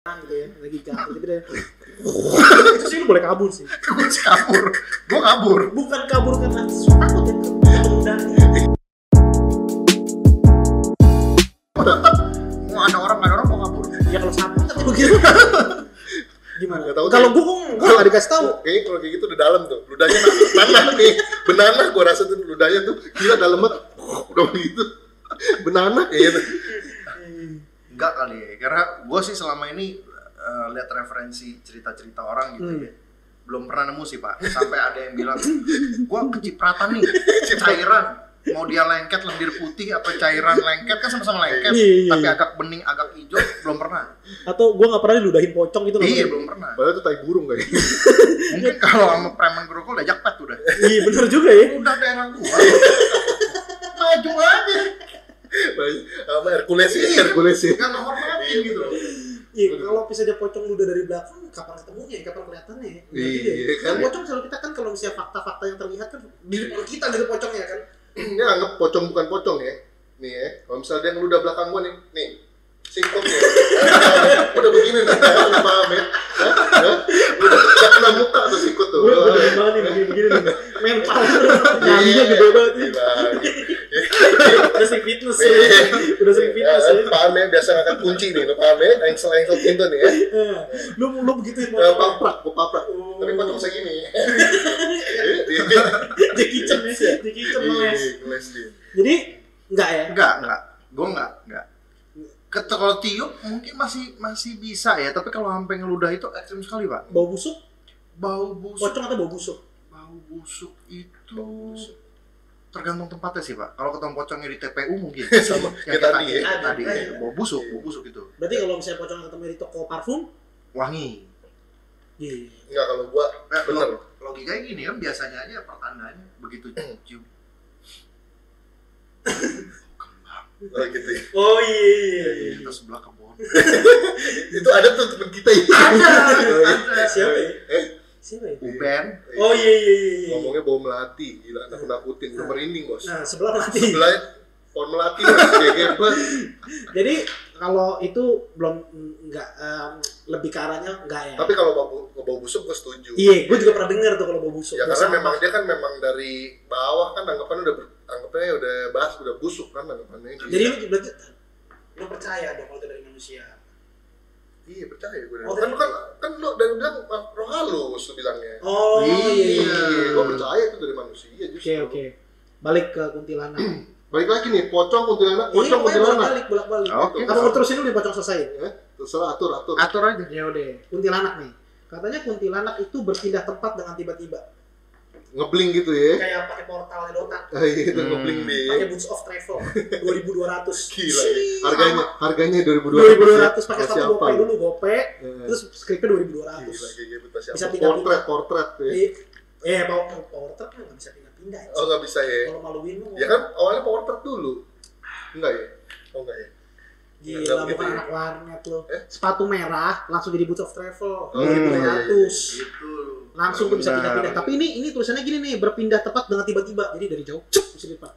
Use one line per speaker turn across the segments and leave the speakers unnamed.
gitu ya lagi jatuh gitu deh itu sih lu boleh kabur sih
gue kabur gue kabur
bukan kabur karena takut ya kabur dari
mau ada orang nggak ada orang mau kabur
ya kalau sampah tapi begitu gimana
Nggak tahu
kalau
sih.
gue gue nggak dikasih tahu
Kayaknya kalau kayak gitu udah dalam tuh ludahnya nanah nih benanah gue rasa tuh ludahnya tuh gila dalam banget udah gitu. begitu benanah kayaknya tuh Iya, enggak kali ya karena gue sih selama ini eh, lihat referensi cerita-cerita orang gitu
Hmm.
ya belum pernah nemu sih pak sampai ada yang bilang gue kecipratan nih cairan mau dia lengket lendir putih apa cairan lengket kan sama-sama lengket
Iya, iya,
tapi
iya.
agak bening agak hijau belum pernah
atau gue nggak pernah diludahin pocong gitu nggak
iya
pernah.
belum pernah
Padahal itu tai burung kayaknya.
mungkin kalau sama preman gerokol udah jakpet udah
iya bener juga ya
udah daerah gua maju aja
Apa Hercules ya? Hercules ya.
nggak menghormatin gitu
iya kalau misalnya pocong ludah dari belakang kapan ketemunya ya kapan kelihatannya ya Berarti
Iya,
ya,
kan.
Nah, pocong selalu kita kan kalau misalnya fakta-fakta yang terlihat kan di depan kita dari pocongnya kan
Ini anggap pocong bukan pocong ya. Nih ya, kalau misalnya dia ngeludah belakang gua nih, nih singkong ya. udah begini nih, udah paham ya? Hah? Hah? Udah nggak kena muka tuh sikut tuh.
gue udah banget nih begini-begini nih mental nyalinya gede banget nih udah sering fitness ya.
Iya.
udah sering fitness ya.
Paham ya, biasa ngangkat kunci nih, lo paham ya? Engsel-engsel pintu nih ya.
Eh, lu lu begitu mau
Eh, Paprak, gua paprak.
Oh.
Tapi pocong Iya, segini.
Jackie Chan ya
Iya.
Jackie Chan ngeles.
Kelas dia.
ya. jadi enggak ya
enggak enggak gua enggak enggak Ket- kalau tiup mungkin masih masih bisa ya tapi kalau sampai ngeludah itu ekstrim sekali pak
bau busuk
bau busuk
pocong atau bau busuk
bau busuk itu tergantung tempatnya sih pak kalau ketemu pocongnya di TPU mungkin
Sama,
yang
kayak tadi ya.
kayak tadi ya. bau busuk bau busuk itu
berarti kalau misalnya pocong ketemu di toko parfum
wangi
iya
Enggak kalau gua
Nah,
bener.
lo- logikanya gini kan biasanya aja pertandaannya begitu cium
Oh, gitu ya.
oh iya iya iya
kita sebelah kebun
Itu ada tuh temen kita ya.
ada
Iya. siapa ya
Eh,
siapa ya
uben
oh iya iya iya, iya
ngomongnya bau melati, gila anak nakutin, udah merinding bos.
nah sebelah mati
Sebelahnya pohon melati, Bos. geger banget.
Iya. jadi kalau itu belum enggak em, lebih ke arahnya enggak ya
Tapi kalau bau bau busuk gua setuju.
iya gue juga pernah dengar tuh kalau bau busuk
Ya
Bau
karena
sampah.
memang dia kan memang dari bawah kan anggapannya udah ber- anggapannya udah bas, udah busuk kan anggapannya.
jadi lu berarti lu percaya dong kalau itu dari manusia
iya percaya gue.
Oh,
kan lu kan kan lu dari bilang ah, roh halus lu bilangnya.
oh iya iya, iya.
Gue percaya itu dari manusia
oke
justru.
oke balik ke kuntilanak
Balik lagi nih, pocong
Iya,
kuntilanak,
bolak
pocong Iya, kuntilanak.
Iya, balik, bolak balik. Nah,
Oke.
Apa mau terusin dulu di pocong selesai?
Ya, terserah atur atur.
atur aja
Ya udah, kuntilanak nih. Katanya kuntilanak itu berpindah tempat dengan tiba-tiba.
Ngebling gitu ya.
Kayak pakai portalnya Dota,
Ah, iya, itu
Hmm.
ngebling deh.
pakai boots of travel 2200.
Gila ya.
Sih,
Harganya harganya 2200.
2200 pakai satu
Sama siapa?
gope dulu, gope.
Eh,
Terus skripnya
ya? Gila,
2200.
gila, betul siapa?
Bisa pindah-pindah.
Portret, portret ya.
Jadi, Eh, mau mau porter kan nggak bisa pindah-pindah.
Oh nggak bisa ya?
Kalau maluin lu.
Ya kan awalnya portrait dulu. Enggak ya? Oh enggak ya? nggak
Gila,
begitu
bukan
ya.
anak warnet lo.
Eh?
Sepatu merah langsung jadi boots of travel.
Oh, iya, iya, iya.
2200.
itu
langsung tuh bisa
Benar.
pindah-pindah. Tapi ini ini tulisannya gini nih, berpindah tepat dengan tiba-tiba. Jadi dari jauh, cep, bisa lipat.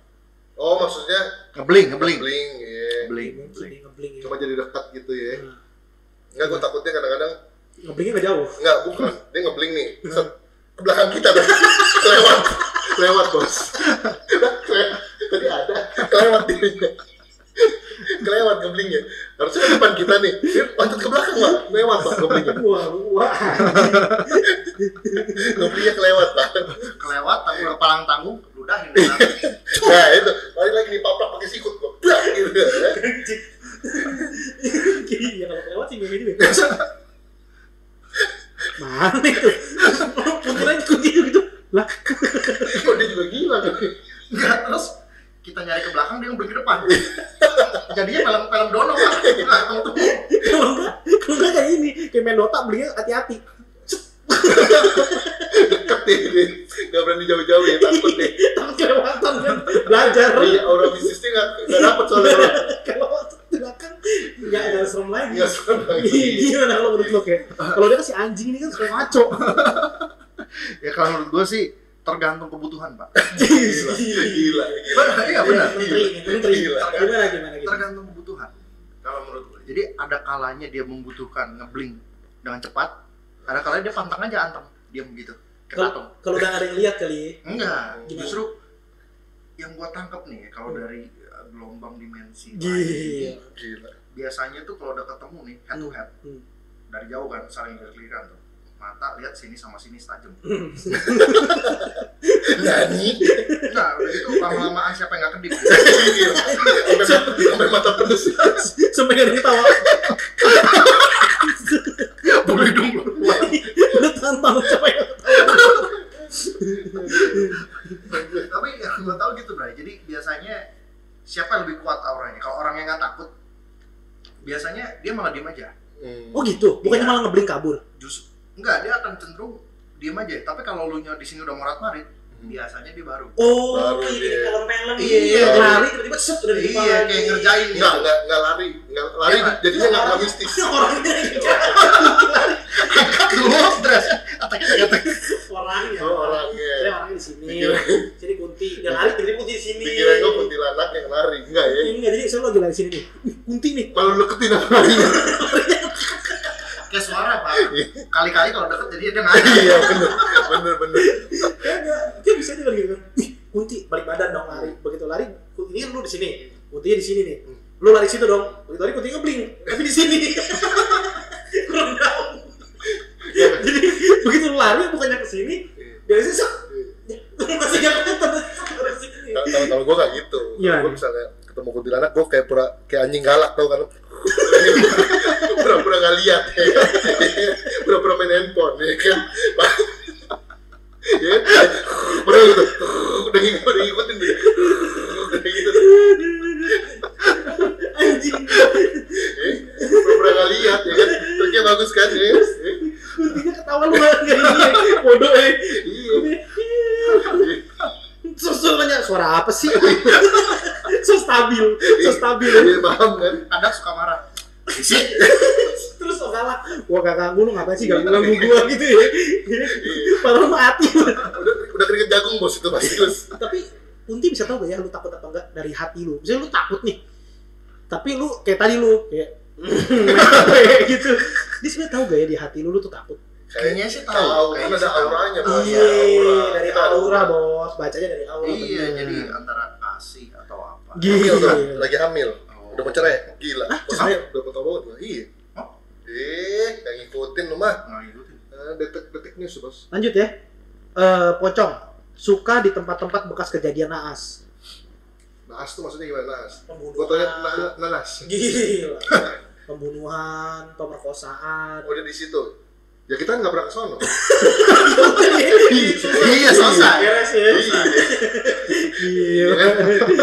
Oh maksudnya
ngebling ngebling
bling ya.
ngebling ngebling
Jadi ngebling ya.
Cuma jadi dekat gitu ya.
Nah,
Enggak
Iya.
gue takutnya kadang-kadang
Ngeblingnya nggak jauh.
enggak bukan dia ngebling nih. Set, ke belakang kita tuh. lewat lewat bos. Kelewat. Tadi ada kelewat dirinya. kelewat ngeblingnya. Harusnya ke depan kita nih. Dia loncat ke belakang lah. Lewat pak ngeblingnya.
Wah, wah.
Ngeblingnya kelewat pak.
kelewat tapi udah palang tanggung ludahin
Nah itu balik lagi nih paprak pakai sikut gue. gitu.
Iya kalau lewat sih kayak gitu. ya. Mana itu? Mungkin aja kok gitu gitu. Lah,
Kok dia juga gila kan?
enggak Nah, terus kita nyari ke belakang dia ngebling ke depan jadinya film film dono kan belakang tuh
kalau enggak, kalau enggak kayak ini, kayak main Dota belinya hati-hati.
deket deh dia. Gak berani jauh-jauh ya takut deh
Takut kelewatan kan belajar.
iya orang bisnisnya gak, gak dapet soalnya orang
Kalau waktu di belakang enggak ada serem lagi.
gak serem
Iya,
lagi
Gimana kalau menurut lo kayak? Kalau dia kan si anjing ini kan suka ngaco.
ya kalau menurut gua sih tergantung kebutuhan pak
gila gila
benar iya benar
Menteri, menteri.
Gila.
Gimana gimana gimana?
tergantung kebutuhan kalau menurut gue Jadi ada kalanya dia membutuhkan ngebling dengan cepat, ada kalanya dia pantang aja anteng, diam gitu. Kayak patung.
Kalau kalau udah nggak ada yang lihat kali ya.
Enggak,
Gimana?
justru yang gua tangkap nih kalau dari uh, gelombang dimensi
Gila.
Gila.
biasanya tuh kalau udah ketemu nih head to head
Hmm.
dari jauh kan saling berkeliran tuh mata lihat sini sama sini tajam
Nani.
enggak udah gitu lama-lamaan siapa yang nggak kedip gitu.
Gila. Sampai mata- Iya, Sampai mata pedes.
Sampai nggak ada yang tawa.
Bulu hidung keluar.
Lu tahan tahu siapa ya? yang
tapi yang gua tahu gitu bray jadi biasanya siapa yang lebih kuat auranya kalau orang yang nggak takut biasanya dia malah diem aja
Oh gitu. Bukannya
Iya.
malah ngebling kabur.
justru enggak dia akan cenderung diem aja tapi kalau lu di sini udah morat marit
Hmm.
biasanya dia baru
Oh,
Baru dia.
ini film-film
Iya.
iya, lari tiba-tiba set udah di kepala.
iya kayak ngerjain gitu.
Enggak, enggak, enggak lari. Enggak lari,
Iya.
jadinya enggak enggak mistis.
Iya. Orangnya
Keluar stres. Attack, attack, attack.
orangnya.
Oh, orangnya.
ya. Saya orangnya di sini.
Dikira-
Jadi kunti. Dan lari tiba-tiba kunti di sini.
Dikira gue "Oh, kuntilanak yang lari. Enggak ya.
Ini nggak jadi saya lagi lari sini nih. Ih, Kunti nih.
Malu deketin apa lari.
kayak suara pak kali-kali kalau deket jadi dia ngaji
Iya, bener. Bener, bener.
Ya enggak. Dia bisa juga gitu kan. Ih, Kunti balik badan dong lari. Begitu lari, kunti- ini kan lu di sini. Kuntinya di sini nih.
Hmm.
Lu lari situ dong. Begitu lari kunti ngebling. Tapi di sini. Kurang down.
Iya.
Jadi begitu lu lari bukannya ke sini, dari sini set.
Iya.
Masih gak ketemu. Terus ke sini.
Kalau kalau gue gak gitu.
Iya.
Kalau gue misalnya ketemu kuntilanak, gue kayak pura kayak anjing galak tau kan? Pura-pura gak lihat, ya kan? pura-pura main handphone, ya kan? ya, kan? pura gitu, udah ngikut, udah ngikutin gitu, udah gitu,
Anjing.
ya. pura-pura gak lihat, ya kan? Triknya bagus kan, ya? Ya.
Kuntinya ketawa lu banget kayak gini. Bodoh eh.
Iya.
Susulnya suara apa sih? so stabil, so stabil.
Iya, paham kan?
kadang suka marah
Terus oh, so galak. Wah gak ganggu lu ngapain sih ganggu ganggu gua gitu ya? Padahal mati.
Udah, udah keringet jagung bos itu pasti bos.
Tapi Unti bisa tahu gak ya lu takut apa enggak dari hati lu? Misalnya lu takut nih, tapi lu kayak tadi lu kayak kayak gitu. Dia sebenarnya tahu gak ya di hati lu lu tuh takut?
kayaknya sih
Tahu,
tahu kayaknya
kan ada
sih tahu.
auranya, Bos.
Iya, dari
Kita ada
aura bos, bacanya dari aura.
iya
bener.
jadi antara kasih atau apa
Gila.
Hamil tuh, lagi hamil.
Oh.
Udah mau cerai? Gila.
cerai?
Wah, Udah mau tau banget gua. Iya.
Hah?
Eh, yang ngikutin lu mah.
nggak ngikutin
Eh, Detik detik news bos.
Lanjut ya. Eh, pocong suka di tempat-tempat bekas kejadian naas.
Naas tuh maksudnya gimana naas? Gua tanya
Pembunuhan.
na- na- nanas.
Gila. Pembunuhan, pemerkosaan.
Oh dia di situ. Ya kita nggak pernah ke sono.
iya selesai
Beres ya. Gila.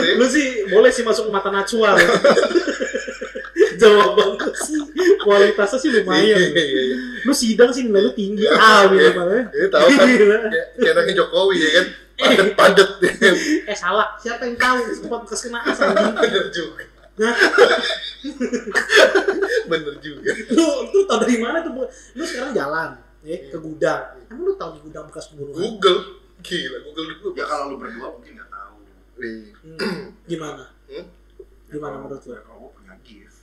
Iya.
Lu sih boleh sih masuk mata najwa. lu. Jawaban lu sih kualitasnya sih lumayan.
Iya, iya, iya.
Lu sidang sih nilai lu tinggi.
Iya.
Ah, gitu malah.
Ini tahu kan?
Gila.
Iya.
Kayak kayak anaknya Jokowi ya kan?
Iya.
Padet padet.
Eh salah. Siapa yang tahu tempat bekas kena naas anjing?
Bener juga.
Hah?
Bener juga.
lu lu tau dari mana tuh Bu? lu sekarang jalan ya ke gudang emang lu tahu di gudang bekas pembunuhan
Google. Gila, Google dulu.
ya kalau lu berdua mungkin nggak tahu
Iya.
Hmm. gimana
Hmm?
gimana
Kalau-
menurut lu
ya, kalau gua punya gift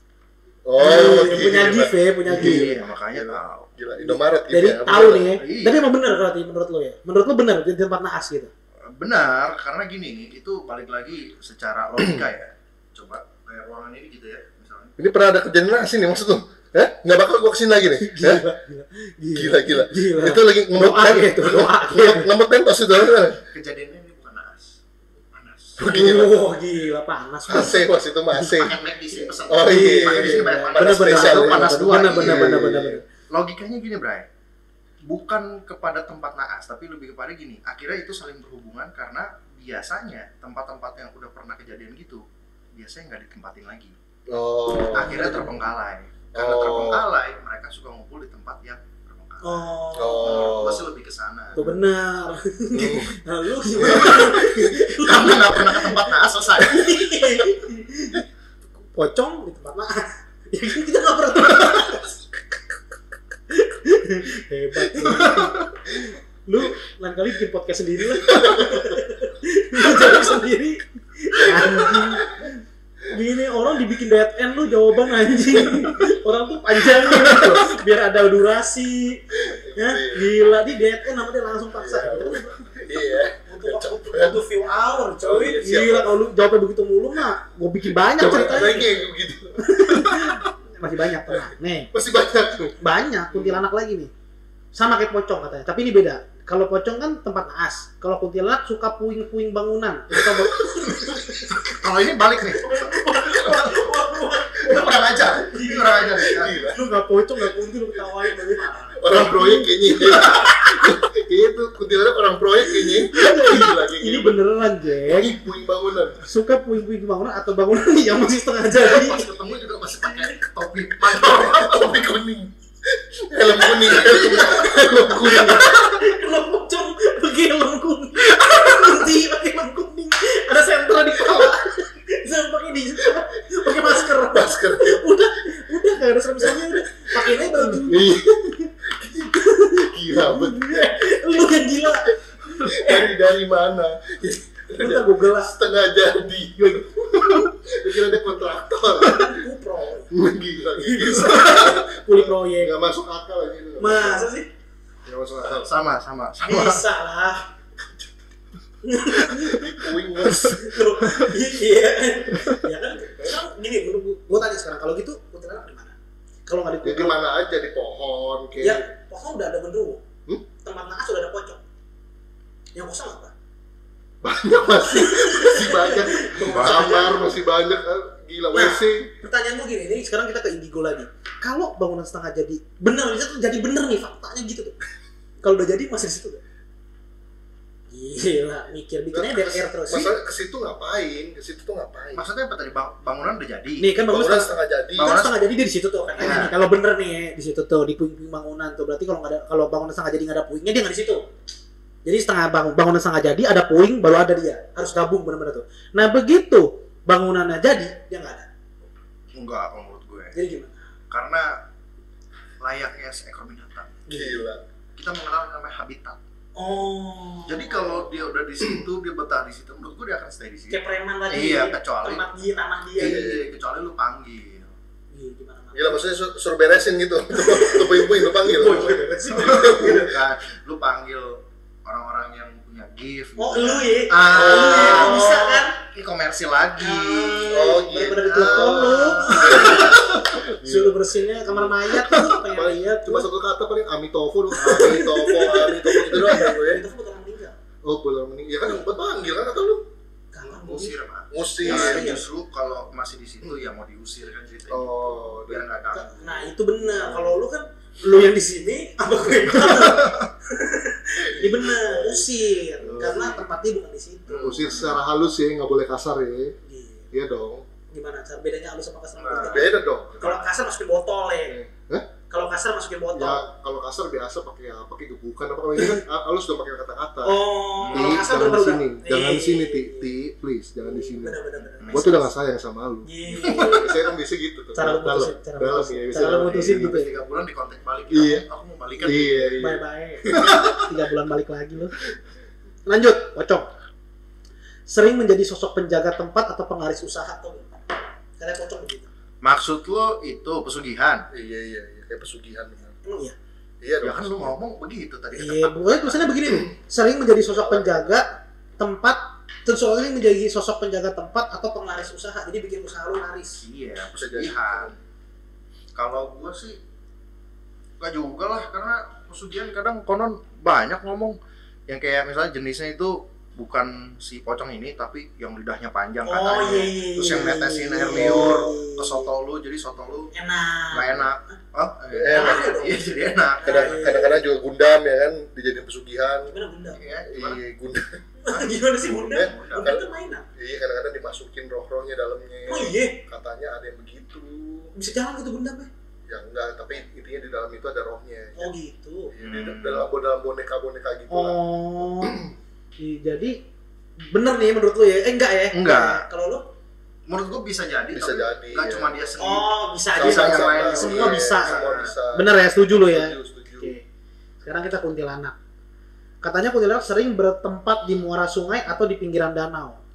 Oh,
Eh, punya
gila.
gift ya punya gift
iya makanya tahu
Gila, Indomaret gitu
jadi
ya.
tahu nih ya.
Iya.
tapi emang bener berarti menurut lu ya menurut lu bener di tempat naas gitu
benar karena gini itu balik lagi secara logika ya coba kayak ruangan ini gitu ya misalnya
Ini pernah ada kejadian nasi nih maksud lu? Eh, nggak bakal gua kesini lagi nih. Eh?
gila
Heh?
gila
Gila, gila.
gila
Itu lagi ngemut
Iya. Doa
pen-
gitu, doa.
ngemut- ngemut pentos itu.
kejadiannya ini bukan naas panas
Gila.
Wah, Oh, gila panas
AC was itu mah AC.
pakai McD sih pesan
Oh, iya.
pakai di sini banyak panas
bener bener
spesial,
Satu,
ya.
panas dua
bener bener
Iya.
bener bener bener
logikanya gini Bray bukan kepada tempat naas tapi lebih kepada gini akhirnya itu saling berhubungan karena biasanya tempat-tempat yang udah pernah kejadian gitu biasanya nggak ditempatin lagi
Nah.
Oh.
akhirnya terbengkalai karena
Oh.
terbengkalai mereka suka ngumpul di tempat yang terbengkalai
oh
Oh.
Menurut gua sih lebih ke sana
tuh bener
Hmm.
nah, lu gimana
kamu nggak pernah ke tempat naas selesai
pocong di tempat naas ya kan kita nggak pernah tempat naas. hebat lu. lu lain kali bikin podcast sendiri lah lu jawab sendiri anjing gini orang dibikin bikin dead end lu jawaban anjing. Orang tuh panjang gitu. biar ada durasi. Ya, gila di dead end namanya langsung paksa.
Iya.
Butuh waktu butuh few hour, coy. Gila kalau lu jawabnya begitu mulu mah, gua bikin banyak
Oh, Coba
ceritanya.
lagi gitu.
Masih banyak tenang. Nih,
Masih banyak tuh.
banyak kuntilanak lagi nih. Sama kayak pocong katanya, tapi ini beda. Kalau pocong kan tempat naas, kalau kuntilanak suka puing-puing bangunan. Lu tau bang-
Kalau ini balik nih. Ini kurang ajar. Ini kurang ajar.
Iya.
ya.
Gila.
lu nggak pocong nggak kuntil lu ketawain tapi
Iya. Orang proyek kayaknya. Iya. itu kuntilanak orang proyek kayaknya. Gila kayaknya.
ini beneran Jack
Ini puing bangunan.
suka puing-puing bangunan atau bangunan yang masih setengah jadi
Pas ketemu juga masih pakai topi mantap.
Topi kuning. Helm kuning. Helm kuning.
kalau pocong pakai helm kuning kunti pakai helm kuning ada sentra di kepala jangan pakai di pakai masker
Masker.
udah udah nggak ada serem-seremnya udah pakainya baju
Iya. Gila betul.
lu yang gila
Dari dari mana?
lu nggak google lah
Setengah jadi. Kira ada kontraktor.
kupro
Gila gila.
kulit proyek
Gak masuk akal aja itu.
masa sih
Gak masuk akal.
Ya, Sama, sama, sama.
bisa lah
Puing mas.
Terus, iya ya kan sekarang gini menurut gua- gua tanya sekarang kalau gitu kuntilanak di mana kalau nggak di
Ya gimana aja di pohon
ya
kayak.
pokoknya udah ada genderuwo
Hmm?
tempat naas sudah ada pocong yang kosong apa
Banyak masih masih banyak. Kamar masih banyak. Eh, Gila
Nah.
WC.
pertanyaan gua gini ini sekarang kita ke indigo lagi kalau bangunan setengah jadi bener bisa tuh jadi bener nih faktanya gitu tuh kalau udah jadi masih di situ tuh gila mikir bikinnya dari air terus sih
Nah, Masalah ke situ ngapain? Ke situ tuh ngapain?
Maksudnya apa tadi Bang- bangunan udah jadi.
nih kan bangunan
Bangunan
setengah
setengah jadi.
kan
Bangunan-
setengah jadi dia di situ tuh kan
Iya.
nih kalau bener nih di situ tuh di puing-puing bangunan tuh berarti kalau nggak ada kalau bangunan setengah jadi nggak ada puingnya dia nggak di situ jadi setengah bangun bangunan setengah jadi ada puing baru ada dia harus gabung bener-bener tuh nah begitu bangunannya jadi dia nggak ada
Enggak kalau menurut gue.
jadi gimana
Karena layaknya seekor binatang.
Gila.
Kita mengenal yang namanya habitat.
oh
Jadi kalau dia udah di situ, dia betah di situ, menurut gue dia akan stay di situ.
kayak preman tadi
Iya, kecuali
tempat dia tanah dia
Iya, kecuali lu panggil.
Iya, gimana Mak?
Gila maksudnya sur- suruh beresin gitu. Lu puing-puing lu panggil.
Boy, boy, bener sih.
Bukan, Iya kan? lu panggil orang-orang yang punya gift.
oh lu ya
Ah. Iya.
lu ya lu bisa kan
Ini komersil lagi. Ah,
oh,
Oh,
bener-bener
gitu.
ditelepon lu
Iya.
Gila.
suruh bersihinnya kamar mayat tuh pengen
Paling-
lihat
Cuma satu kata paling amitofo doang. Amitofo, amitofo gitu doang kan gue.
itu kan orang meninggal
Oh, pulang mening. Ya kan buat panggil kan atau lu
kalah
Usir, Pak.
ngusir.
Ya,
Iya.
justru kalau masih di situ ya mau diusir kan ceritanya.
Oh,
biar nggak ganggu.
Nah itu benar. Kalau lu kan lu yang di sini apa gue yang tahu? Ini benar usir karena tempatnya bukan di situ.
ngusir secara halus ya, nggak boleh kasar ya.
Iya.
Iya dong.
Gimana cara bedanya halus sama kasar?
Nah,
Beda dong.
Kalau kasar masukin botol ya.
Hah?
Kalau kasar masukin
Ya,
botol.
kalau kasar biasa pakai apa? Pakai gebukan apa? Kalau ini kan ah, halus dong pakai kata-kata.
Oh,
Ti,
kalau kasar
jangan di
bener-bener
sini.
udah-
Jangan
Eh.
di sini, Ti. Ti, please, jangan di sini.
Bener-bener. bener.
Gue tuh udah gak sayang sama lu.
Iya.
Saya kan biasa gitu tuh.
Cara lu
Dalam,
putusin, cara lu
dalam
putusin.
ya, biasa
Cara lu
dalam.
putusin gitu ya.
Iya. tiga bulan di kontak balik ya.
Iya.
aku mau balikan
Iya, iya.
Bye bye. Tiga bulan balik lagi lu. Lanjut, pocong. Sering menjadi sosok penjaga tempat atau penggaris usaha tuh. Kalian pocong begitu.
maksud lo itu pesugihan
Iya, iya, iya. Kayak pesugihan.
Emang iya.
Iya
ya
dong.
kan lo ngomong begitu tadi
Iya, pokoknya tulisannya begini nih. Sering menjadi sosok penjaga tempat, terus soalnya menjadi sosok penjaga tempat atau penglaris usaha. Jadi bikin usaha lu laris.
iya pesugihan kalau gue sih gak juga lah karena pesugihan kadang konon banyak ngomong yang kayak misalnya jenisnya itu bukan si pocong ini tapi yang lidahnya panjang katanya
iya.
terus yang netesin
iya,
air
iya,
liur
iya.
ke soto lu jadi soto lu
Enak.
nggak enak oh
Enak.
iya jadi enak
Kadang- Kadang-kadang juga gundam ya kan, dijadiin pesugihan.
Gimana Iya. bunda?
iya gimana?
Iya, gundam.
Gimana sih bunda?
Eh,
Bunda itu mainan.
Iya, kadang-kadang dimasukin roh-rohnya dalamnya.
Oh iya,
Katanya ada yang begitu.
bisa jalan gitu bunda, Bay.
Ya enggak, tapi intinya di dalam itu ada rohnya.
Oh gitu.
Iya, di dalam dalam boneka-boneka gitu lah.
Oh. Iya, jadi bener nih menurut lu ya? Eh enggak ya?
Enggak.
Kalau lu?
menurut gue bisa jadi iya.
Bisa
tapi
jadi,
nggak
ya.
cuma dia sendiri
Oh, bisa aja.
Sama-
Bisa,
sama- yang lain.
Semua
Iya,
bisa.
Semua bisa.
Bener ya, setuju lu ya?
Setuju, setuju.
Oke. Sekarang kita kuntilanak. Katanya kuntilanak sering bertempat di muara sungai atau di pinggiran danau.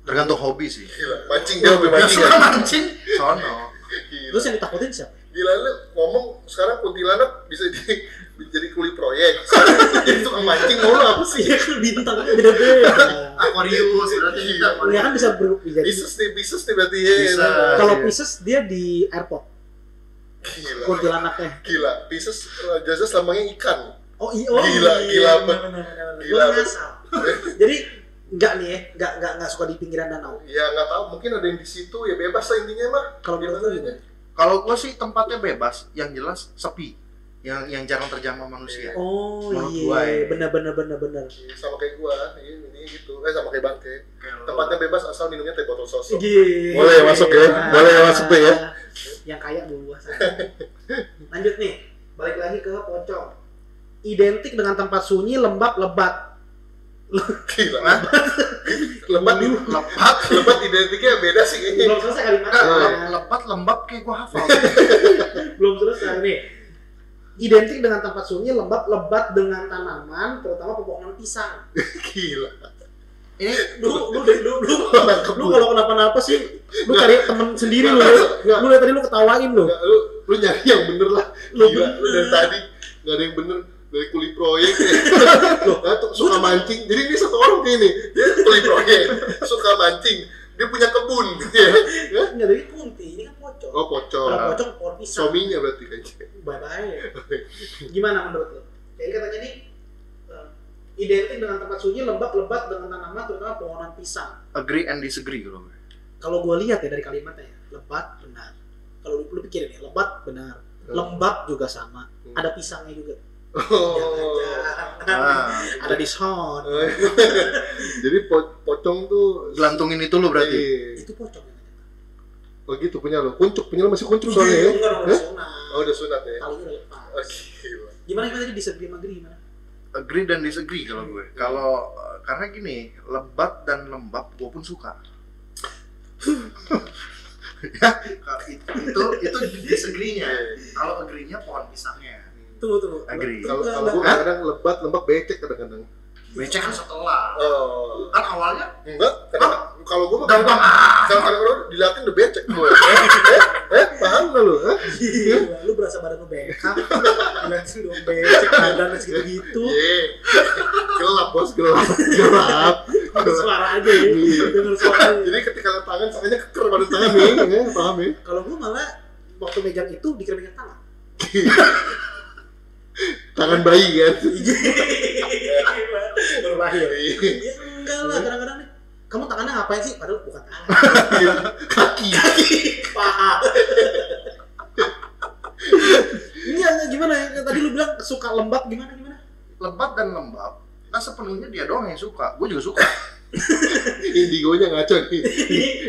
tergantung hobi sih
Gila, mancing dia lebih
Iya,
mancing.
suka
ya.
mancing sono
Gila.
Terus yang ditakutin siapa?
Gila lu ngomong sekarang kuntilanak bisa jadi jadi kuli proyek. Sekarang jadi tukang mancing mau lu apa sih?
Iya kan bintangnya beda-beda.
Aquarius berarti kita
Dia kan bisa ber jadi
Bisnis nih, bisnis nih berarti ya.
Bisa.
kalau
Iya.
Pisces dia di airport
Gila.
kuntilanaknya.
Gila, Pisces uh, jasa lambangnya ikan.
Oh iya, oh,
Gila,
iya,
gila,
benar,
bet-
benar, benar, benar.
gila,
Gua ngasal. Jadi enggak nih ya, enggak enggak enggak suka di pinggiran danau.
Ya nggak tahu, mungkin ada yang di situ ya bebas lah intinya mah.
Kalau menurut lu
Gimana
gimana?
kalau gua sih tempatnya bebas yang jelas sepi yang yang jarang terjangkau manusia
Oh
Menurut
iya,
gua ya.
benar benar benar benar.
Iya, sama kayak gua, iya, ini gitu. Eh sama kayak bangke.
Kalau-
Tempatnya bebas asal minumnya teh botol sosok.
Gila.
Boleh ya masuk ya? Boleh ya masuk tuh ya?
Iya. Yang kaya dulu gua sana. Lanjut nih, balik lagi ke pocong. Identik dengan tempat sunyi, lembab, lebat.
Gila.
Hah?
lebat di
lebat
lebat identiknya beda sih kayaknya.
Belum selesai kali
Ah,
enggak,
iya.
mana?
lebat lembab kayak gua hafal
belum selesai nih identik dengan tempat sunyi lembab lebat dengan tanaman terutama pepohonan pisang
Gila.
ini
lu lu dari- lu lu
Nangkep
lu kalau kenapa-napa sih lu cari temen sendiri lu ya. lu dari tadi lu ketawain lu
Nggak, lu lu nyari yang bener lah.
Lu
Gila, lu dari
bener.
tadi nggak ada yang bener dari kuli proyek ya. Nah, tuh, suka mancing. Jadi ini satu orang kayak ini. Dia kuli proyek, suka mancing. Dia punya kebun gitu ya. Ya.
nggak dari kunti ini kan pocong kalau
Oh, pocong.
pocong pohon pisang
Suaminya berarti gitu. kayaknya.
bye bye gimana menurut lu jadi katanya nih eh, identik dengan tempat sunyi lembab lebat dengan tanaman terutama pepohonan pisang
agree and disagree kalau gue.
kalau gua lihat ya dari kalimatnya ya, lebat benar kalau lu, lu pikirin ya lebat benar lembab juga sama
Hmm.
ada pisangnya juga
Oh. iya.
Jangan-jangan.
Ah,
ada di sound
Jadi po- pocong tuh
gelantungin itu lu berarti.
Iya.
itu pocong
Oh gitu punya lo. Kuncuk punya lo masih kuncuk soalnya ya.
enggak
Hah?
udah sunat
Oh udah sunat ya.
kali udah lepas
Oh, gila.
gimana gimana tadi disagree sama agree gimana
Agree dan disagree kalau gue. Kalau eh, karena gini, lebat dan lembab gue pun suka. ya, ka- itu itu, itu disagree-nya. Kalau agree-nya pohon pisangnya.
tunggu tunggu
Agree.
Tunggu,
Kalau
tunggu,
kalau gue
tunggu.
kadang lebat lembab becek kadang-kadang.
Becek kan setelah.
Oh.
Kan awalnya
Enggak, kadang kalau gue mah
gampang
kadang
ah.
kadang lu dilatih udah becek gue. eh, eh, paham gak lu? Eh?
Gila, Iya. lu berasa badan lu bengkak lihat sih dong becek badan segitu gitu
Ye. Iya. Gelap bos, gelap, gelap.
suara aja ya
Iya.
denger suara
Jadi ketika liat tangan, tangannya keker pada tangan nih, ya, paham ya?
kalau gua malah waktu megang itu dikirimin tangan
Tangan bayi kan.
Gila. berbahaya
Iya.
ya Iya. enggak lah kadang-kadang nih kamu tangannya ngapain sih padahal bukan tangan
Kaki.
paha ini agak gimana ya tadi lu bilang suka lembab gimana gimana
Lebat dan lembab. Nah sepenuhnya dia doang yang suka. Gue juga suka.
Indigonya ngaco nih.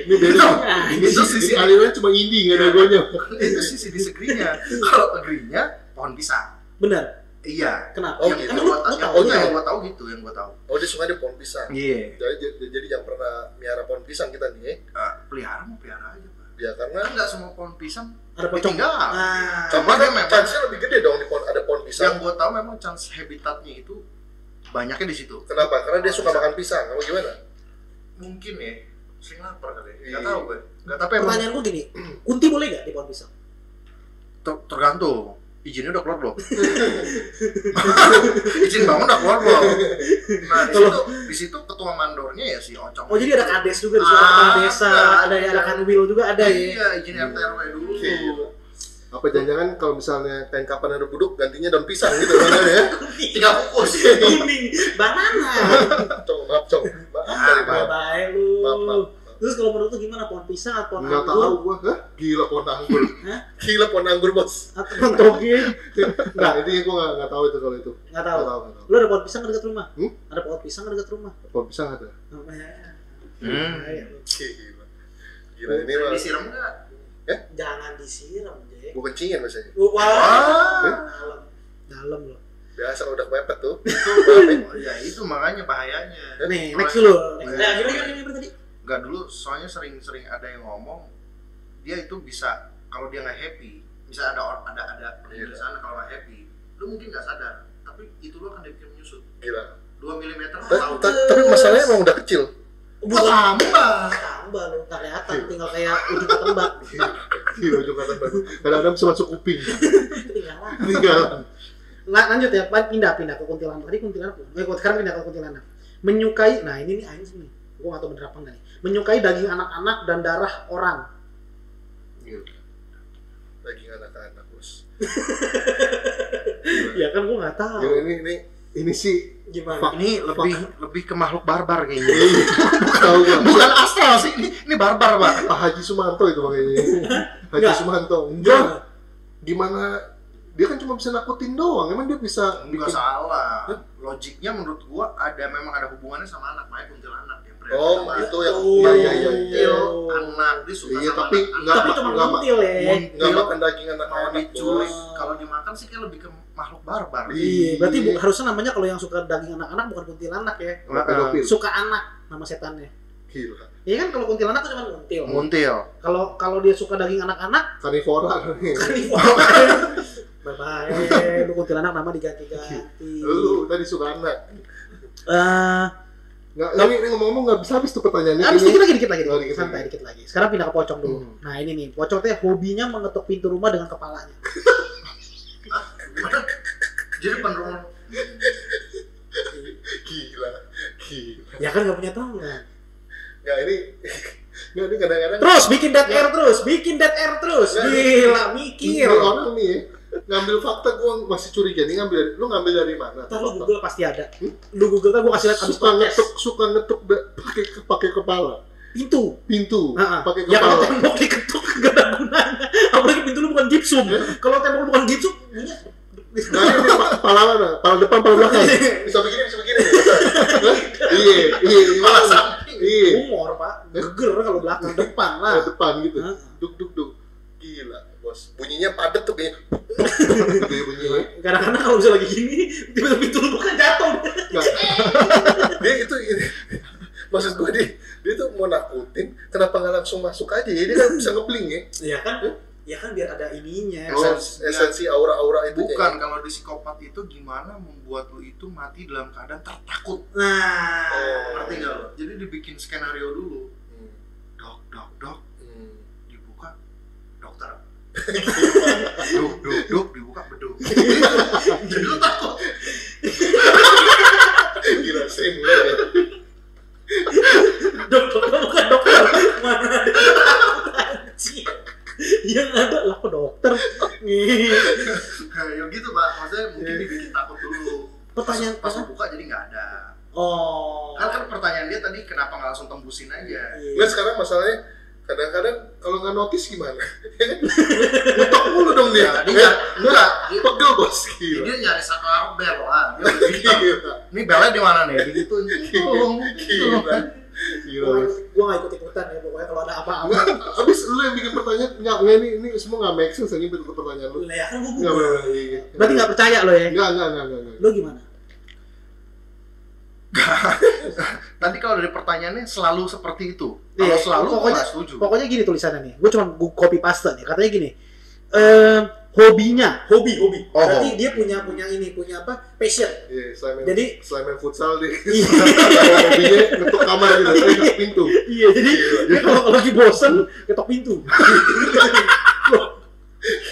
Ini beda.
Nah,
Ini,
itu
ini
sisi-
alirannya cuma indi, nggak ada gonya.
itu sisi disagree-nya. Kalau agree-nya pohon pisang.
benar
Iya.
kenapa
Oh,
yang,
gitu.
yang
emang lu,
gua,
lu
yang,
tahu lu
yang
tahu
gua tahu gitu, yang gue tahu.
Oh, dia suka dia pohon pisang.
Iya.
Jadi, jadi, jadi yang pernah miara pohon pisang kita nih,
Eh, pelihara mau pelihara aja pak
ya karena
kan nggak semua pohon pisang
ada pocong
Iya,
ditinggal
nah
Cuma dia memang-
chance-nya lebih gede dong di pohon ada pohon
yang
pisang.
gue tahu memang chance habitatnya itu banyaknya di situ
Kenapa? Karena dia suka makan pisang. Kamu gimana?
mungkin ya sering lapar kali ya nggak
Iya.
tahu gue nggak tapi emang
pertanyaan gua gini kunti boleh nggak di pohon pisang
ter- tergantung izinnya udah keluar belum izin bangun udah keluar belum nah di situ di situ ketua mandornya ya si ocong
oh jadi ada kades juga di sana
Ah,
kepala desa
ada.
ada ada kanwil juga ada ya
iya izin rt rw dulu
Iya. Apa jangan-jangan kalau misalnya kain kapan ada buduk gantinya daun pisang gitu kan ya?
tiga kukus
kuning banana
Cong, maaf cong. Maaf
Ah,
kali
bye
maaf.
bye
Maaf, maaf.
lu terus kalau menurut lu gimana pohon pisang atau pohon
Nggak tahu
anggur
gua, hah? Gila pohon anggur.
Hah?
Gila pohon anggur bos.
atau pohon toge
Nah, ini gua nggak- nggak tahu itu kalau itu.
nggak
Nggak
tahu
tahu, nggak tahu.
lu ada pohon pisang dekat rumah
Hmm?
ada pohon pisang dekat rumah
Pohon pisang ada.
Oh, ya.
Hmm.
Bahaya lu.
Gila. Gila ini mah.
disiram nggak
jangan disiram deh
Gua kencingin biasanya.
wah
ah
dalam dalam loh
Biasa udah kepepet tuh.
itu ya itu makanya bahayanya
nih next dulu next
Nah,
nah, gimana gimana gimana tadi
nggak dulu soalnya sering-sering ada yang ngomong dia itu bisa kalau dia nggak happy bisa ada orang ada ada
Iya.
di sana kalau nggak happy lu mungkin nggak sadar tapi itu lu akan dibikin menyusut
Gila.
dua milimeter
Eh, Ta-
tahu
ta- Tapi masalahnya emang udah kecil.
Buat apa?
tambah lu nggak kelihatan tinggal kayak udah ketembak
di ujung kata kadang-kadang bisa masuk kuping Iya.
ketinggalan
tinggal
La- lanjut ya pan- pindah pindah ke kuntilanak tadi kuntilanak eh kok- sekarang pindah ke kuntilanak menyukai nah ini nih anjing nih gua nggak tahu bener apa enggak nih menyukai daging anak-anak dan darah orang
lagi anak-anak bos
ya kan gua nggak tahu
yang ini ini ini sih
gimana
Ini lebih lebih ke makhluk barbar
Iya,
kayaknya.
tahu gak
Bukan astral sih, ini, ini barbar pak.
Pak Haji Sumanto itu makanya Haji
Enggak.
Sumanto enggak
Gimana?
gimana dia kan cuma bisa nakutin doang emang dia bisa
Enggak
bikin
salah. Logiknya menurut gua ada memang ada hubungannya sama anak, makanya kuntilanak dia berat.
oh itu yang
Oh.
iya iya iya iya.
Kuntil, anak dia suka
iya
sama
tapi
anak.
enggak
tapi cuma
enggak Iya,
kuntil ya
enggak
Kuntil,
makan daging
kalau
anak-anak
diculik,
bos.
kalau dimakan sih kayak lebih ke makhluk barbar.
Iya, berarti bu- harusnya namanya kalau yang suka daging anak-anak bukan kuntilanak ya.
Sama pedofil
Suka anak nama setannya.
gila
Iya kan kalau kuntilanak tuh cuma kuntil.
Muntil.
Kalau kalau dia suka daging anak-anak,
karnivora nih
karnivora. bye bye. Lu kuntilanak nama diganti-ganti.
lu tadi suka anak
Eh,
nggak ini, ini ngomong-ngomong nggak bisa habis tuh pertanyaannya
habis
ini
dikit lagi, dikit lagi,
Oh, dikit
santai
lagi.
dikit lagi. Sekarang pindah ke pocong dulu.
Hmm.
Nah ini nih, pocong teh hobinya mengetuk pintu rumah dengan kepalanya.
Jadi penurun
gila gila
Ya kan nggak punya tangan.
nggak ini nggak ini kadang-kadang
Terus bikin dead air terus, bikin dead air terus.
Ya.
Gila
ini
mikir.
orang nih ya, ngambil fakta gua masih curiga nih ngambil dari- lu ngambil dari mana
Ntar lu
fakta?
Google pasti ada. Lu Google kan gua kasih lihat abis
suka
podcast.
ngetuk suka ngetuk da- pakai pakai kepala
Pintu.
pintu
Ha-ha.
pakai
Ya kalau
kepala
tembok diketuk gak ada gunanya. Apalagi pintu lu bukan gipsum. Kalau tembok lu bukan gipsum, bunyinya
nah ini pa- kepala mana kepala depan kepala belakang
Bisa begini, bisa begini.
Hah? iya iya iya
Malah samping.
iya
humor, Pak. Geger kalau belakang depan lah.
Kepala depan gitu
ah. Ha-ha.
duk duk duk gila bos
Bunyinya padat tuh kayaknya.
gitu ya bunyinya
Kadang-kadang kalau bisa lagi gini, tiba-tiba pintu lu bukan jatuh.
Nah, dia itu ini. maksud gue dia dia tuh mau nakutin kenapa nggak langsung masuk aja ya dia kan bisa ngebling ya
Ya kan? Ya kan biar ada ininya.
Oh.
esensi, esensi aura-aura itu
bukan kalau di psikopat itu gimana membuat lu itu mati dalam keadaan tertakut.
Nah,
Oh, Ngerti nggak lu? Jadi dibikin skenario dulu. Dok, dok, dok, dibuka dokter. duk, duk, duk, dibuka beduk. Jadi lu takut.
gila sering banget ya.
dokter bukan dokter. Mana ada anjing. Yang ada lah kok dokter. Nih.
Kayak gitu, Pak. Maksudnya mungkin dibikin takut dulu.
Pertanyaan
pas, pas buka jadi nggak ada.
Oh.
Kan kan pertanyaan dia tadi kenapa nggak langsung tembusin aja?
Iya.
Nggak, sekarang masalahnya kadang-kadang kalau nggak notice gimana? Ya kan? Ngetok mulu dong dia. Eh,
Nah,
Nggak,
dia enggak, dia,
pegel bos
dia,
gila.
nyari saklar bel lah. Dia udah
Gila,
bilang, Ini belnya di mana nih? Digituin. Tolong, tolong.
gila, gila.
Gua gua nggak ikut ikutan ya pokoknya kalau ada apa-apa.
Nggak, abis lu yang bikin pertanyaan nggak nggak ini ini semua nggak make sense ini bentuk pertanyaan lu.
Lah ya kan gua
Nggak,
Google.
nggak, iya.
Berarti nggak percaya lo ya?
Nggak, nggak, nggak, nggak, nggak.
Lo gimana?
Tadi kalau dari pertanyaannya selalu seperti itu.
Iya,
Kalau selalu
pokoknya-
pokoknya setuju.
Pokoknya gini tulisannya nih. Gue cuma gu- copy paste nih. Katanya gini. Eh hobinya, hobi, hobi.
Oh,
Berarti dia punya punya ini, punya apa? Passion.
Iya, selain main-
Jadi-
selain main futsal deh.
Iya,
Hobinya ngetuk kamar gitu, eh, ngetuk pintu.
iya. Jadi dia kalau kalau lagi bosen ketok pintu. Loh,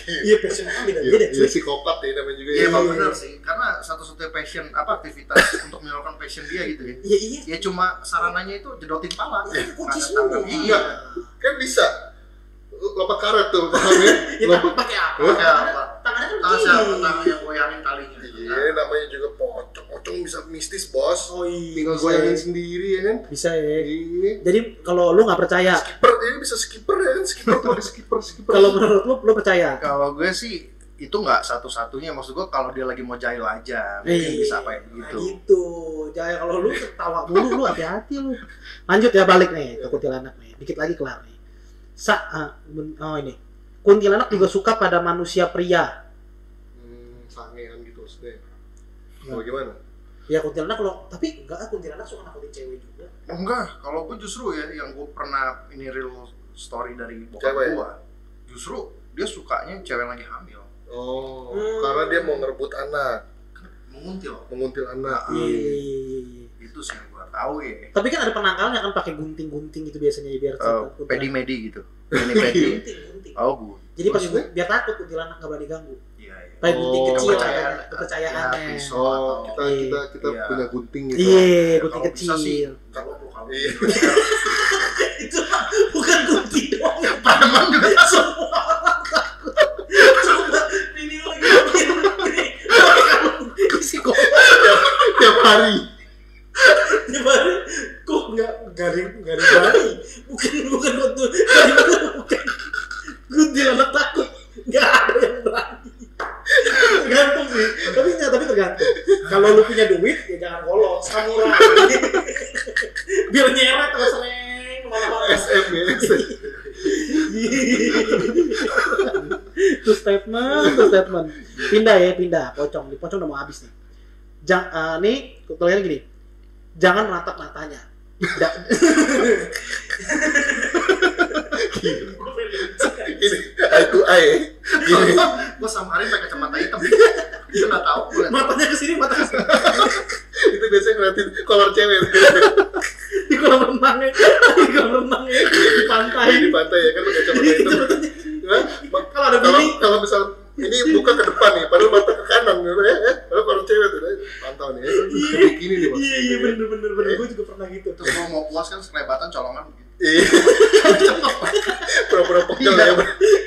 Iya passion kan beda
Iya,
beda
iya,
sih.
psikopat ya namanya juga.
Iya,
ya.
emang benar sih. Karena satu-satunya passion apa aktivitas untuk menyalurkan passion dia gitu ya.
Iya iya.
Ya cuma sarananya itu jedotin pala.
Iya, Kunci
Nggak ada
semua.
tangan.
Iya. Kan bisa lompat karet tuh, paham ya?
Ya tapi
Lompat
pakai apa?
Hah?
Pakai apa?
Tangannya kan
Tahu Ah, siapa
begini.
tangan yang goyangin talinya. gitu kan.
Iya, namanya juga pocong. Pocong bisa mistis, bos.
Oh iya.
Tinggal
bisa
goyangin
ya.
sendiri ya kan.
Bisa ya.
Ini
Jadi kalau lu nggak percaya,
skipper, ini bisa skipper ya kan. Skipper tuh ada skipper, skipper.
kalau menurut lu lu percaya?
Kalau gue sih itu nggak satu-satunya. Maksud gue kalau dia lagi mau jahil aja, mungkin
Iya,
bisa apa
Nah,
gitu.
gitu. Jangan kalau lu ketawa mulu lu hati-hati lu. Lanjut ya balik nih ke kuntilanak nih. Dikit lagi kelar nih. Sa ah, ben- oh ini. Kuntilanak juga suka pada manusia pria.
Hmm, sangean gitu maksudnya.
Iya.
Mau gimana?
Ya kuntilanak kalau tapi enggak ah, kuntilanak suka nakutin cewek juga.
Oh, enggak, kalau gue justru ya yang gue pernah ini real story dari bokap
Cewek. ya?
gue, justru dia sukanya cewek yang lagi hamil,
Oh,
Hmm.
karena dia mau ngerebut anak,
menguntil.
menguntil anak.
Iya.
Iya.
itu sih yang gua tahu ya
Tapi kan ada penangkalnya kan pakai gunting-gunting gitu biasanya biar
Eh,
takut. ya?
pedi medi gitu pedi pedi
Gunting, gunting.
oh gue
Jadi pas
Maksudnya?
biar takut kuntilanak nggak berani ganggu.
iya iya
Pakai gunting
Oh,
kecil
kepercayaan.
katanya, kepercayaannya.
Ya, pisau atau
Oh, kita kita kita
Iya.
punya gunting gitu.
Iya,
Ya,
gunting
kalau bisa sih.
kecil.
kalau mau kamu
Iya.
Itu mah bukan gunting doang.
Paman juga
Semua orang takut. Coba ini lagi gini, gini. Isi kok
Tiap hari.
gimana? Kok nggak garing garing berani? Bukan bukan waktu bukan kuntilanak takut. Nggak ada yang berani. Tergantung sih, tapi nggak tapi tergantung. Kalau lu punya duit ya jangan kolot, samurai. Biar nyeret terus neng kemana-mana.
SM ya. SM.
Itu statement, itu statement. Pindah ya, pindah. Pocong, di pocong udah mau habis nih. Jang, eh, nih, tulisannya gini. Jangan menatap matanya. Da-
Ini eye to eye. Gini.
Iya.
gue samarin pakai kacamata hitam dia nggak tahu gue
matanya ke sini, mata ke sini.
Itu biasanya ngeliatin kolor cewek
Di kolam renangnya, di kolam renangnya, di pantai.
di pantai ya kan pakai kacamata
Itu
hitam.
matanya.
Hah? Ma-
Kalau ada
Kalau
bunyi,
kalau misal ini buka ke depan nih, padahal mata ke kanan gitu ya. ya. Padahal kolor cewek tuh ya. mantau nih. Ya.
Iya.
Bikini nih Mas.
iya iya bener bener bener. Gue juga pernah gitu.
terus kalau mau puas kan sekelebatan colongan gitu
Iya. Pura-pura pegel ya.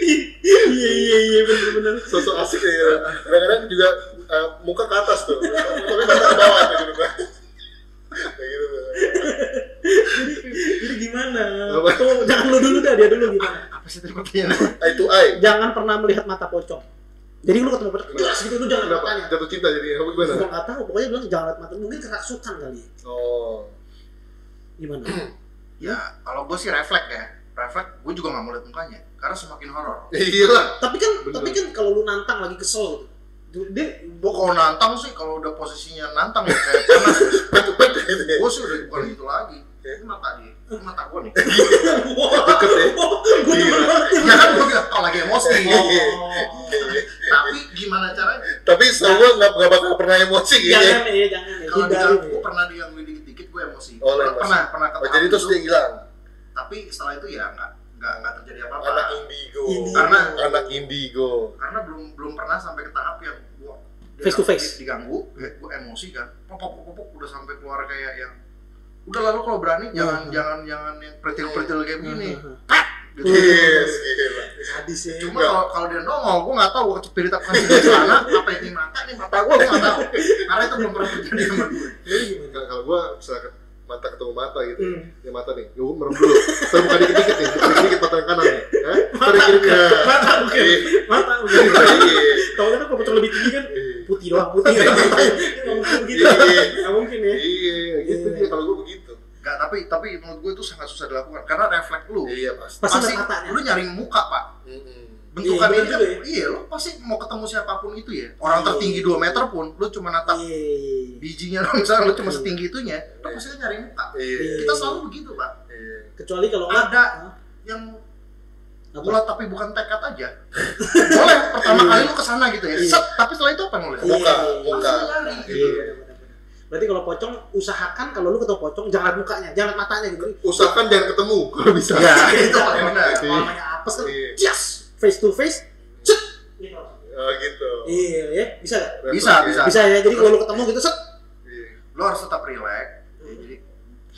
Iya iya iya bener bener.
Sosok asik ya. Kadang-kadang juga eh, muka ke atas tuh. Tapi mata ke bawah tuh gitu. Mas. Kayak gitu. tuh.
Jadi gimana?
Apa?
Tuh, jangan lu dulu dah, dia dulu gimana?
apa sih tadi pertanyaan
Eye to eye.
jangan pernah melihat mata pocong. Jadi lu ketemu pocong, jelas gitu lu jangan lihat
Kenapa?
matanya.
Jatuh cinta jadi apa gimana?
Gua nggak tahu, pokoknya bilang jangan lihat mata. Mungkin kerasukan kali. ya.
Oh.
Gimana?
ya kalau gue sih refleks ya refleks gue juga nggak mau lihat mukanya karena semakin horor
Iya lah.
tapi kan,
Bener.
tapi kan kalau lu nantang lagi kesel, gitu. dia
Gue kalau nantang sih, kalau udah posisinya nantang ya kayak panas.
Cepet gitu ya.
Gue sih udah bukan gitu lagi. Ini mata dia, ini mata gue nih.
Deket
gue
ya. Gila.
demen banget.
Ya kan gue bilang, kalau lagi emosi.
Iya.
Tapi gimana caranya?
Tapi semua nggak nggak bakal pernah emosi gitu ya.
Jangan ya, jangan ya.
Kalau
Hindari.
dia, gue pernah digangguin dikit-dikit, gue emosi.
Oh, lo emosi.
pernah, pernah
Oh,
ketahuan
jadi terus dia hilang.
Tapi setelah itu ya nggak nggak nggak terjadi
Anak
apa-apa.
indigo.
Indigo.
Karena anak indigo.
Karena belum belum pernah sampai ke tahap yang gue
Face to face.
diganggu, gue emosi kan. Popok popok popok, udah sampai keluar kayak yang udah lalu kalau berani
Hmm.
jangan jangan jangan yang pretil-pretil kayak begini.
Heeh.
Gitu.
Yes, gila.
Hmm. Sadis ya.
Cuma kalau kalau dia nongol, gue nggak tahu gue kecepit apa sih di sana, apa ini mata, ini mata gue, gue nggak tahu. Karena itu belum pernah terjadi sama gue.
Lu gimana?
Kalau- Kalau gua misalkan mata ketemu mata gitu,
Hmm.
ya mata nih, ya gua merem dulu. Terus buka dikit-dikit nih, dikit-dikit mata yang kanan nih. Hah? Terus kiri ya.
Mata bukan,
Iya.
mata bukan. Tahu kan kalau pocong lebih tinggi kan putih doang, putih. Nggak mungkin begitu.
Iya.
Nggak mungkin ya.
Iya, gitu
Iya.
dia kalau gua begitu.
Nggak, tapi tapi menurut gue itu sangat susah dilakukan karena refleks lu
Iya, pasti.
Pasti
pasti
lihat matanya.
lu nyari muka pak
Mm-mm.
Iya,
bentukan
iya
iya, kan,
juga ya.
iya lu pasti mau ketemu siapapun itu ya orang
Iya.
tertinggi 2 meter pun lu cuma natap
Iya, iya, iya.
bijinya dong misalnya lu cuma setinggi itunya lu pasti nyari muka
Iya.
kita selalu begitu pak
Iya.
kecuali kalau nggak
ada
Hah?
yang
Apa?
bulat tapi bukan tekad aja boleh pertama kali lu kesana gitu ya
Iya.
set tapi setelah itu apa yang lu lihat
Iya.
Muka, muka.
Langsung lari.
Iya, benar-benar. Berarti kalau pocong usahakan kalau lu ketemu pocong jangan lihat mukanya, jangan lihat matanya gitu.
Usahakan jangan ketemu kalau bisa.
ya
Iya.
itu paling benar
Kalau namanya apes kan,
Iya.
yes, face to face, set. Gitu.
Oh, gitu.
Iya, ya, bisa gak?
Bisa, bisa.
Bisa ya. Jadi kalau lu ketemu gitu set.
Iya.
lu harus tetap relax
Iya.
ya, jadi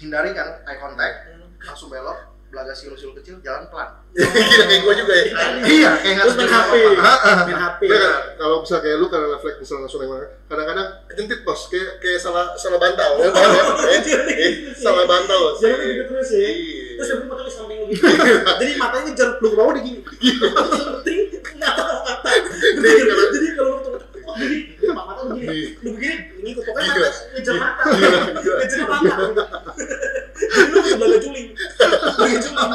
hindari kan eye contact langsung belok belaga silu-silu kecil jalan pelan
Gila kayak gua juga ya.
iya kayak nggak
Iya. Terus main HP,
terjadi apa-apa. Heeh.
main HP.
Iya kan? Kalau misal kayak lu karena refleks misal langsung nengok, kadang-kadang jentit bos, kayak kayak salah salah bantau. Ya, paham ya? Eh, salah bantau. Bos.
Iya. Jangan gitu terus ya.
Iya.
Terus aku pakai samping lu gitu. Jadi matanya ngejar lu ke bawah dia gini. Penting nggak tahu kata.
Nih, kalau-
Jadi kalau lu ketemu oh, gini, mata lu gini.
Iya.
lu begini ngikut pokoknya
Gila.
mata ngejar mata ngejar mata Jadi lu bisa belaga juling belaga juling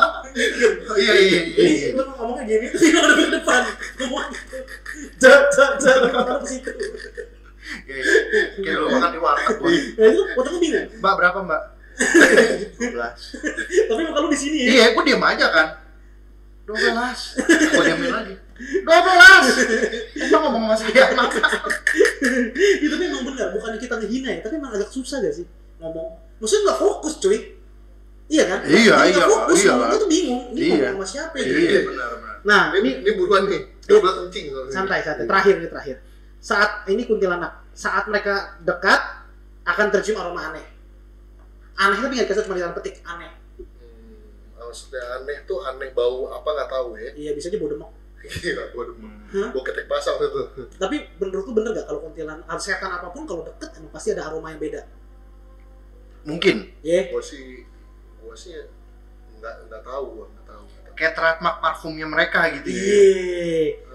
iya iya iya
jadi
iya.
lu ngomongnya gini tapi kalau di depan ngomong gitu jat jat jat mata lu ke situ
Iya, iya. kayak lu makan di warteg gua.
ya itu otaknya bingung
mbak berapa mbak 12
tapi muka lu di sini ya
iya gua diem aja kan 12 gua diemin lagi 12 emang ngomong masih dia
Eh, itu memang benar bukan kita ngehina ya tapi emang agak susah gak sih ngomong maksudnya nggak fokus cuy iya kan
Iya,
Dia
iya,
nggak fokus
iya.
ngomongnya tuh bingung dia
Iya.
ngomong sama siapa ya
Iya,
gitu.
benar benar.
nah
ini ini buruan nih dua belas kencing soalnya.
Iya. santai santai
Iya.
terakhir ini terakhir saat ini kuntilanak saat mereka dekat akan tercium aroma aneh aneh tapi nggak dikasih cuma di dalam petik aneh
Hmm, maksudnya aneh tuh aneh bau apa nggak tahu ya
iya bisa aja bau demok
gila gua demen
Hah?
gua ketek pasang tuh
tapi menurutku bener gak kalau kuntilanak harus setan apapun kalau deket emang pasti ada aroma yang beda
Mungkin
ya
gua sih gua sih nggak nggak tahu gua nggak tahu nggak tahu.
kayak trademark parfumnya mereka gitu. ya.
Iya.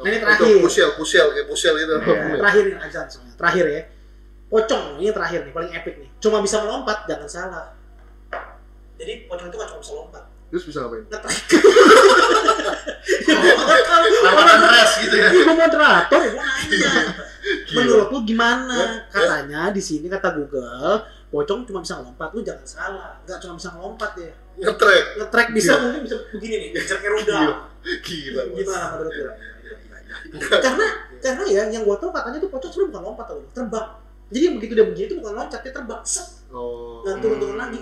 Nah, ini terakhir.
Itu pusel pusel kayak gitu. pusel itu
Nah, terakhir nih azan semuanya. Terakhir ya. Pocong ini terakhir nih paling epic nih. Cuma bisa melompat, jangan salah. Jadi pocong itu nggak cuma bisa lompat.
Terus bisa ngapain?
Ngetrek.
Tawaran res gitu ya.
Gue moderator, gue nanya. Menurut lu gimana? Katanya di sini kata Google, pocong cuma bisa lompat, lu jangan salah. Nggak cuma bisa lompat ya.
ngetrek
Ngetrek bisa mungkin bisa begini nih, bisa kayak rudal.
gila bos.
Gimana menurut lu? karena karena ya yang gua tahu katanya tuh pocong sebenarnya bukan lompat tau terbang jadi yang begitu dia begini itu bukan loncat dia terbang set
Oh.
dan
Iya.
turun turun lagi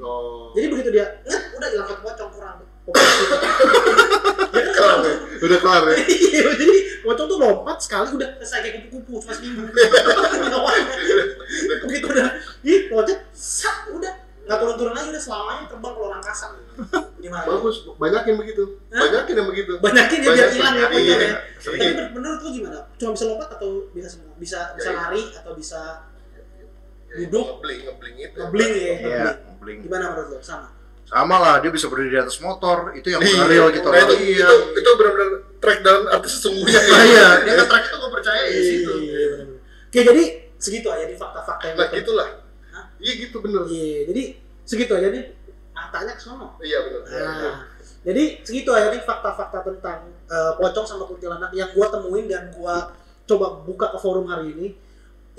Oh.
Nah, jadi begitu dia nget udah hilang satu pocong kurang Pocong.
kelar ya
Udah kelar ya.
Iya, jadi pocong tuh lompat sekali udah selesai kayak kupu-kupu cuma seminggu begitu udah ih loncat set udah nggak turun turun lagi udah selamanya terbang ke luar angkasa gimana
Bagus, banyakin begitu.
Hah?
Banyakin yang begitu.
banyakin ya biar
Banyakin,
hilang ya
iya.
pocongnya tapi
Sering.
men- menurut lu gimana cuma bisa lompat atau bisa semua bisa bisa
Ya, iya.
lari atau bisa
Ya,
Duduk.
ngebling ngebling itu
Ngebling ya.
Iya,
ngebling.
bling.
Gimana menurut lo? Sama.
Sama lah, dia bisa berdiri di atas motor, itu yang
Iya,
real gitu.
nah, itu,
Iya.
itu, itu benar-benar track dalam arti sesungguhnya
Iya, dia kan track itu gue percaya di situ.
Iya, benar-benar. Oke, jadi segitu aja nih fakta-fakta yang
nah
betul.
gitulah
Hah?
iya gitu bener
Iya, jadi segitu aja nih faktanya ke sono.
iya bener
Nah, jadi segitu aja nih fakta-fakta tentang eh, pocong sama kuntilanak yang gua temuin dan gua coba buka ke forum hari ini.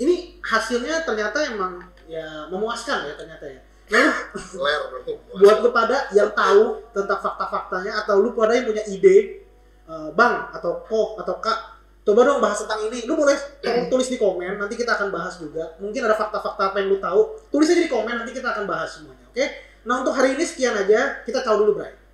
Ini hasilnya ternyata emang ya memuaskan ya ternyata ya. Lalu
ler
buat lu pada yang tahu tentang fakta-faktanya atau lu pada yang punya ide eh, bang atau koh atau kak coba dong bahas tentang ini lu boleh tolong tulis di komen nanti kita akan bahas juga mungkin ada fakta-fakta apa yang lu tahu tulis aja di komen nanti kita akan bahas semuanya oke nah untuk hari ini sekian aja kita tahu dulu Bray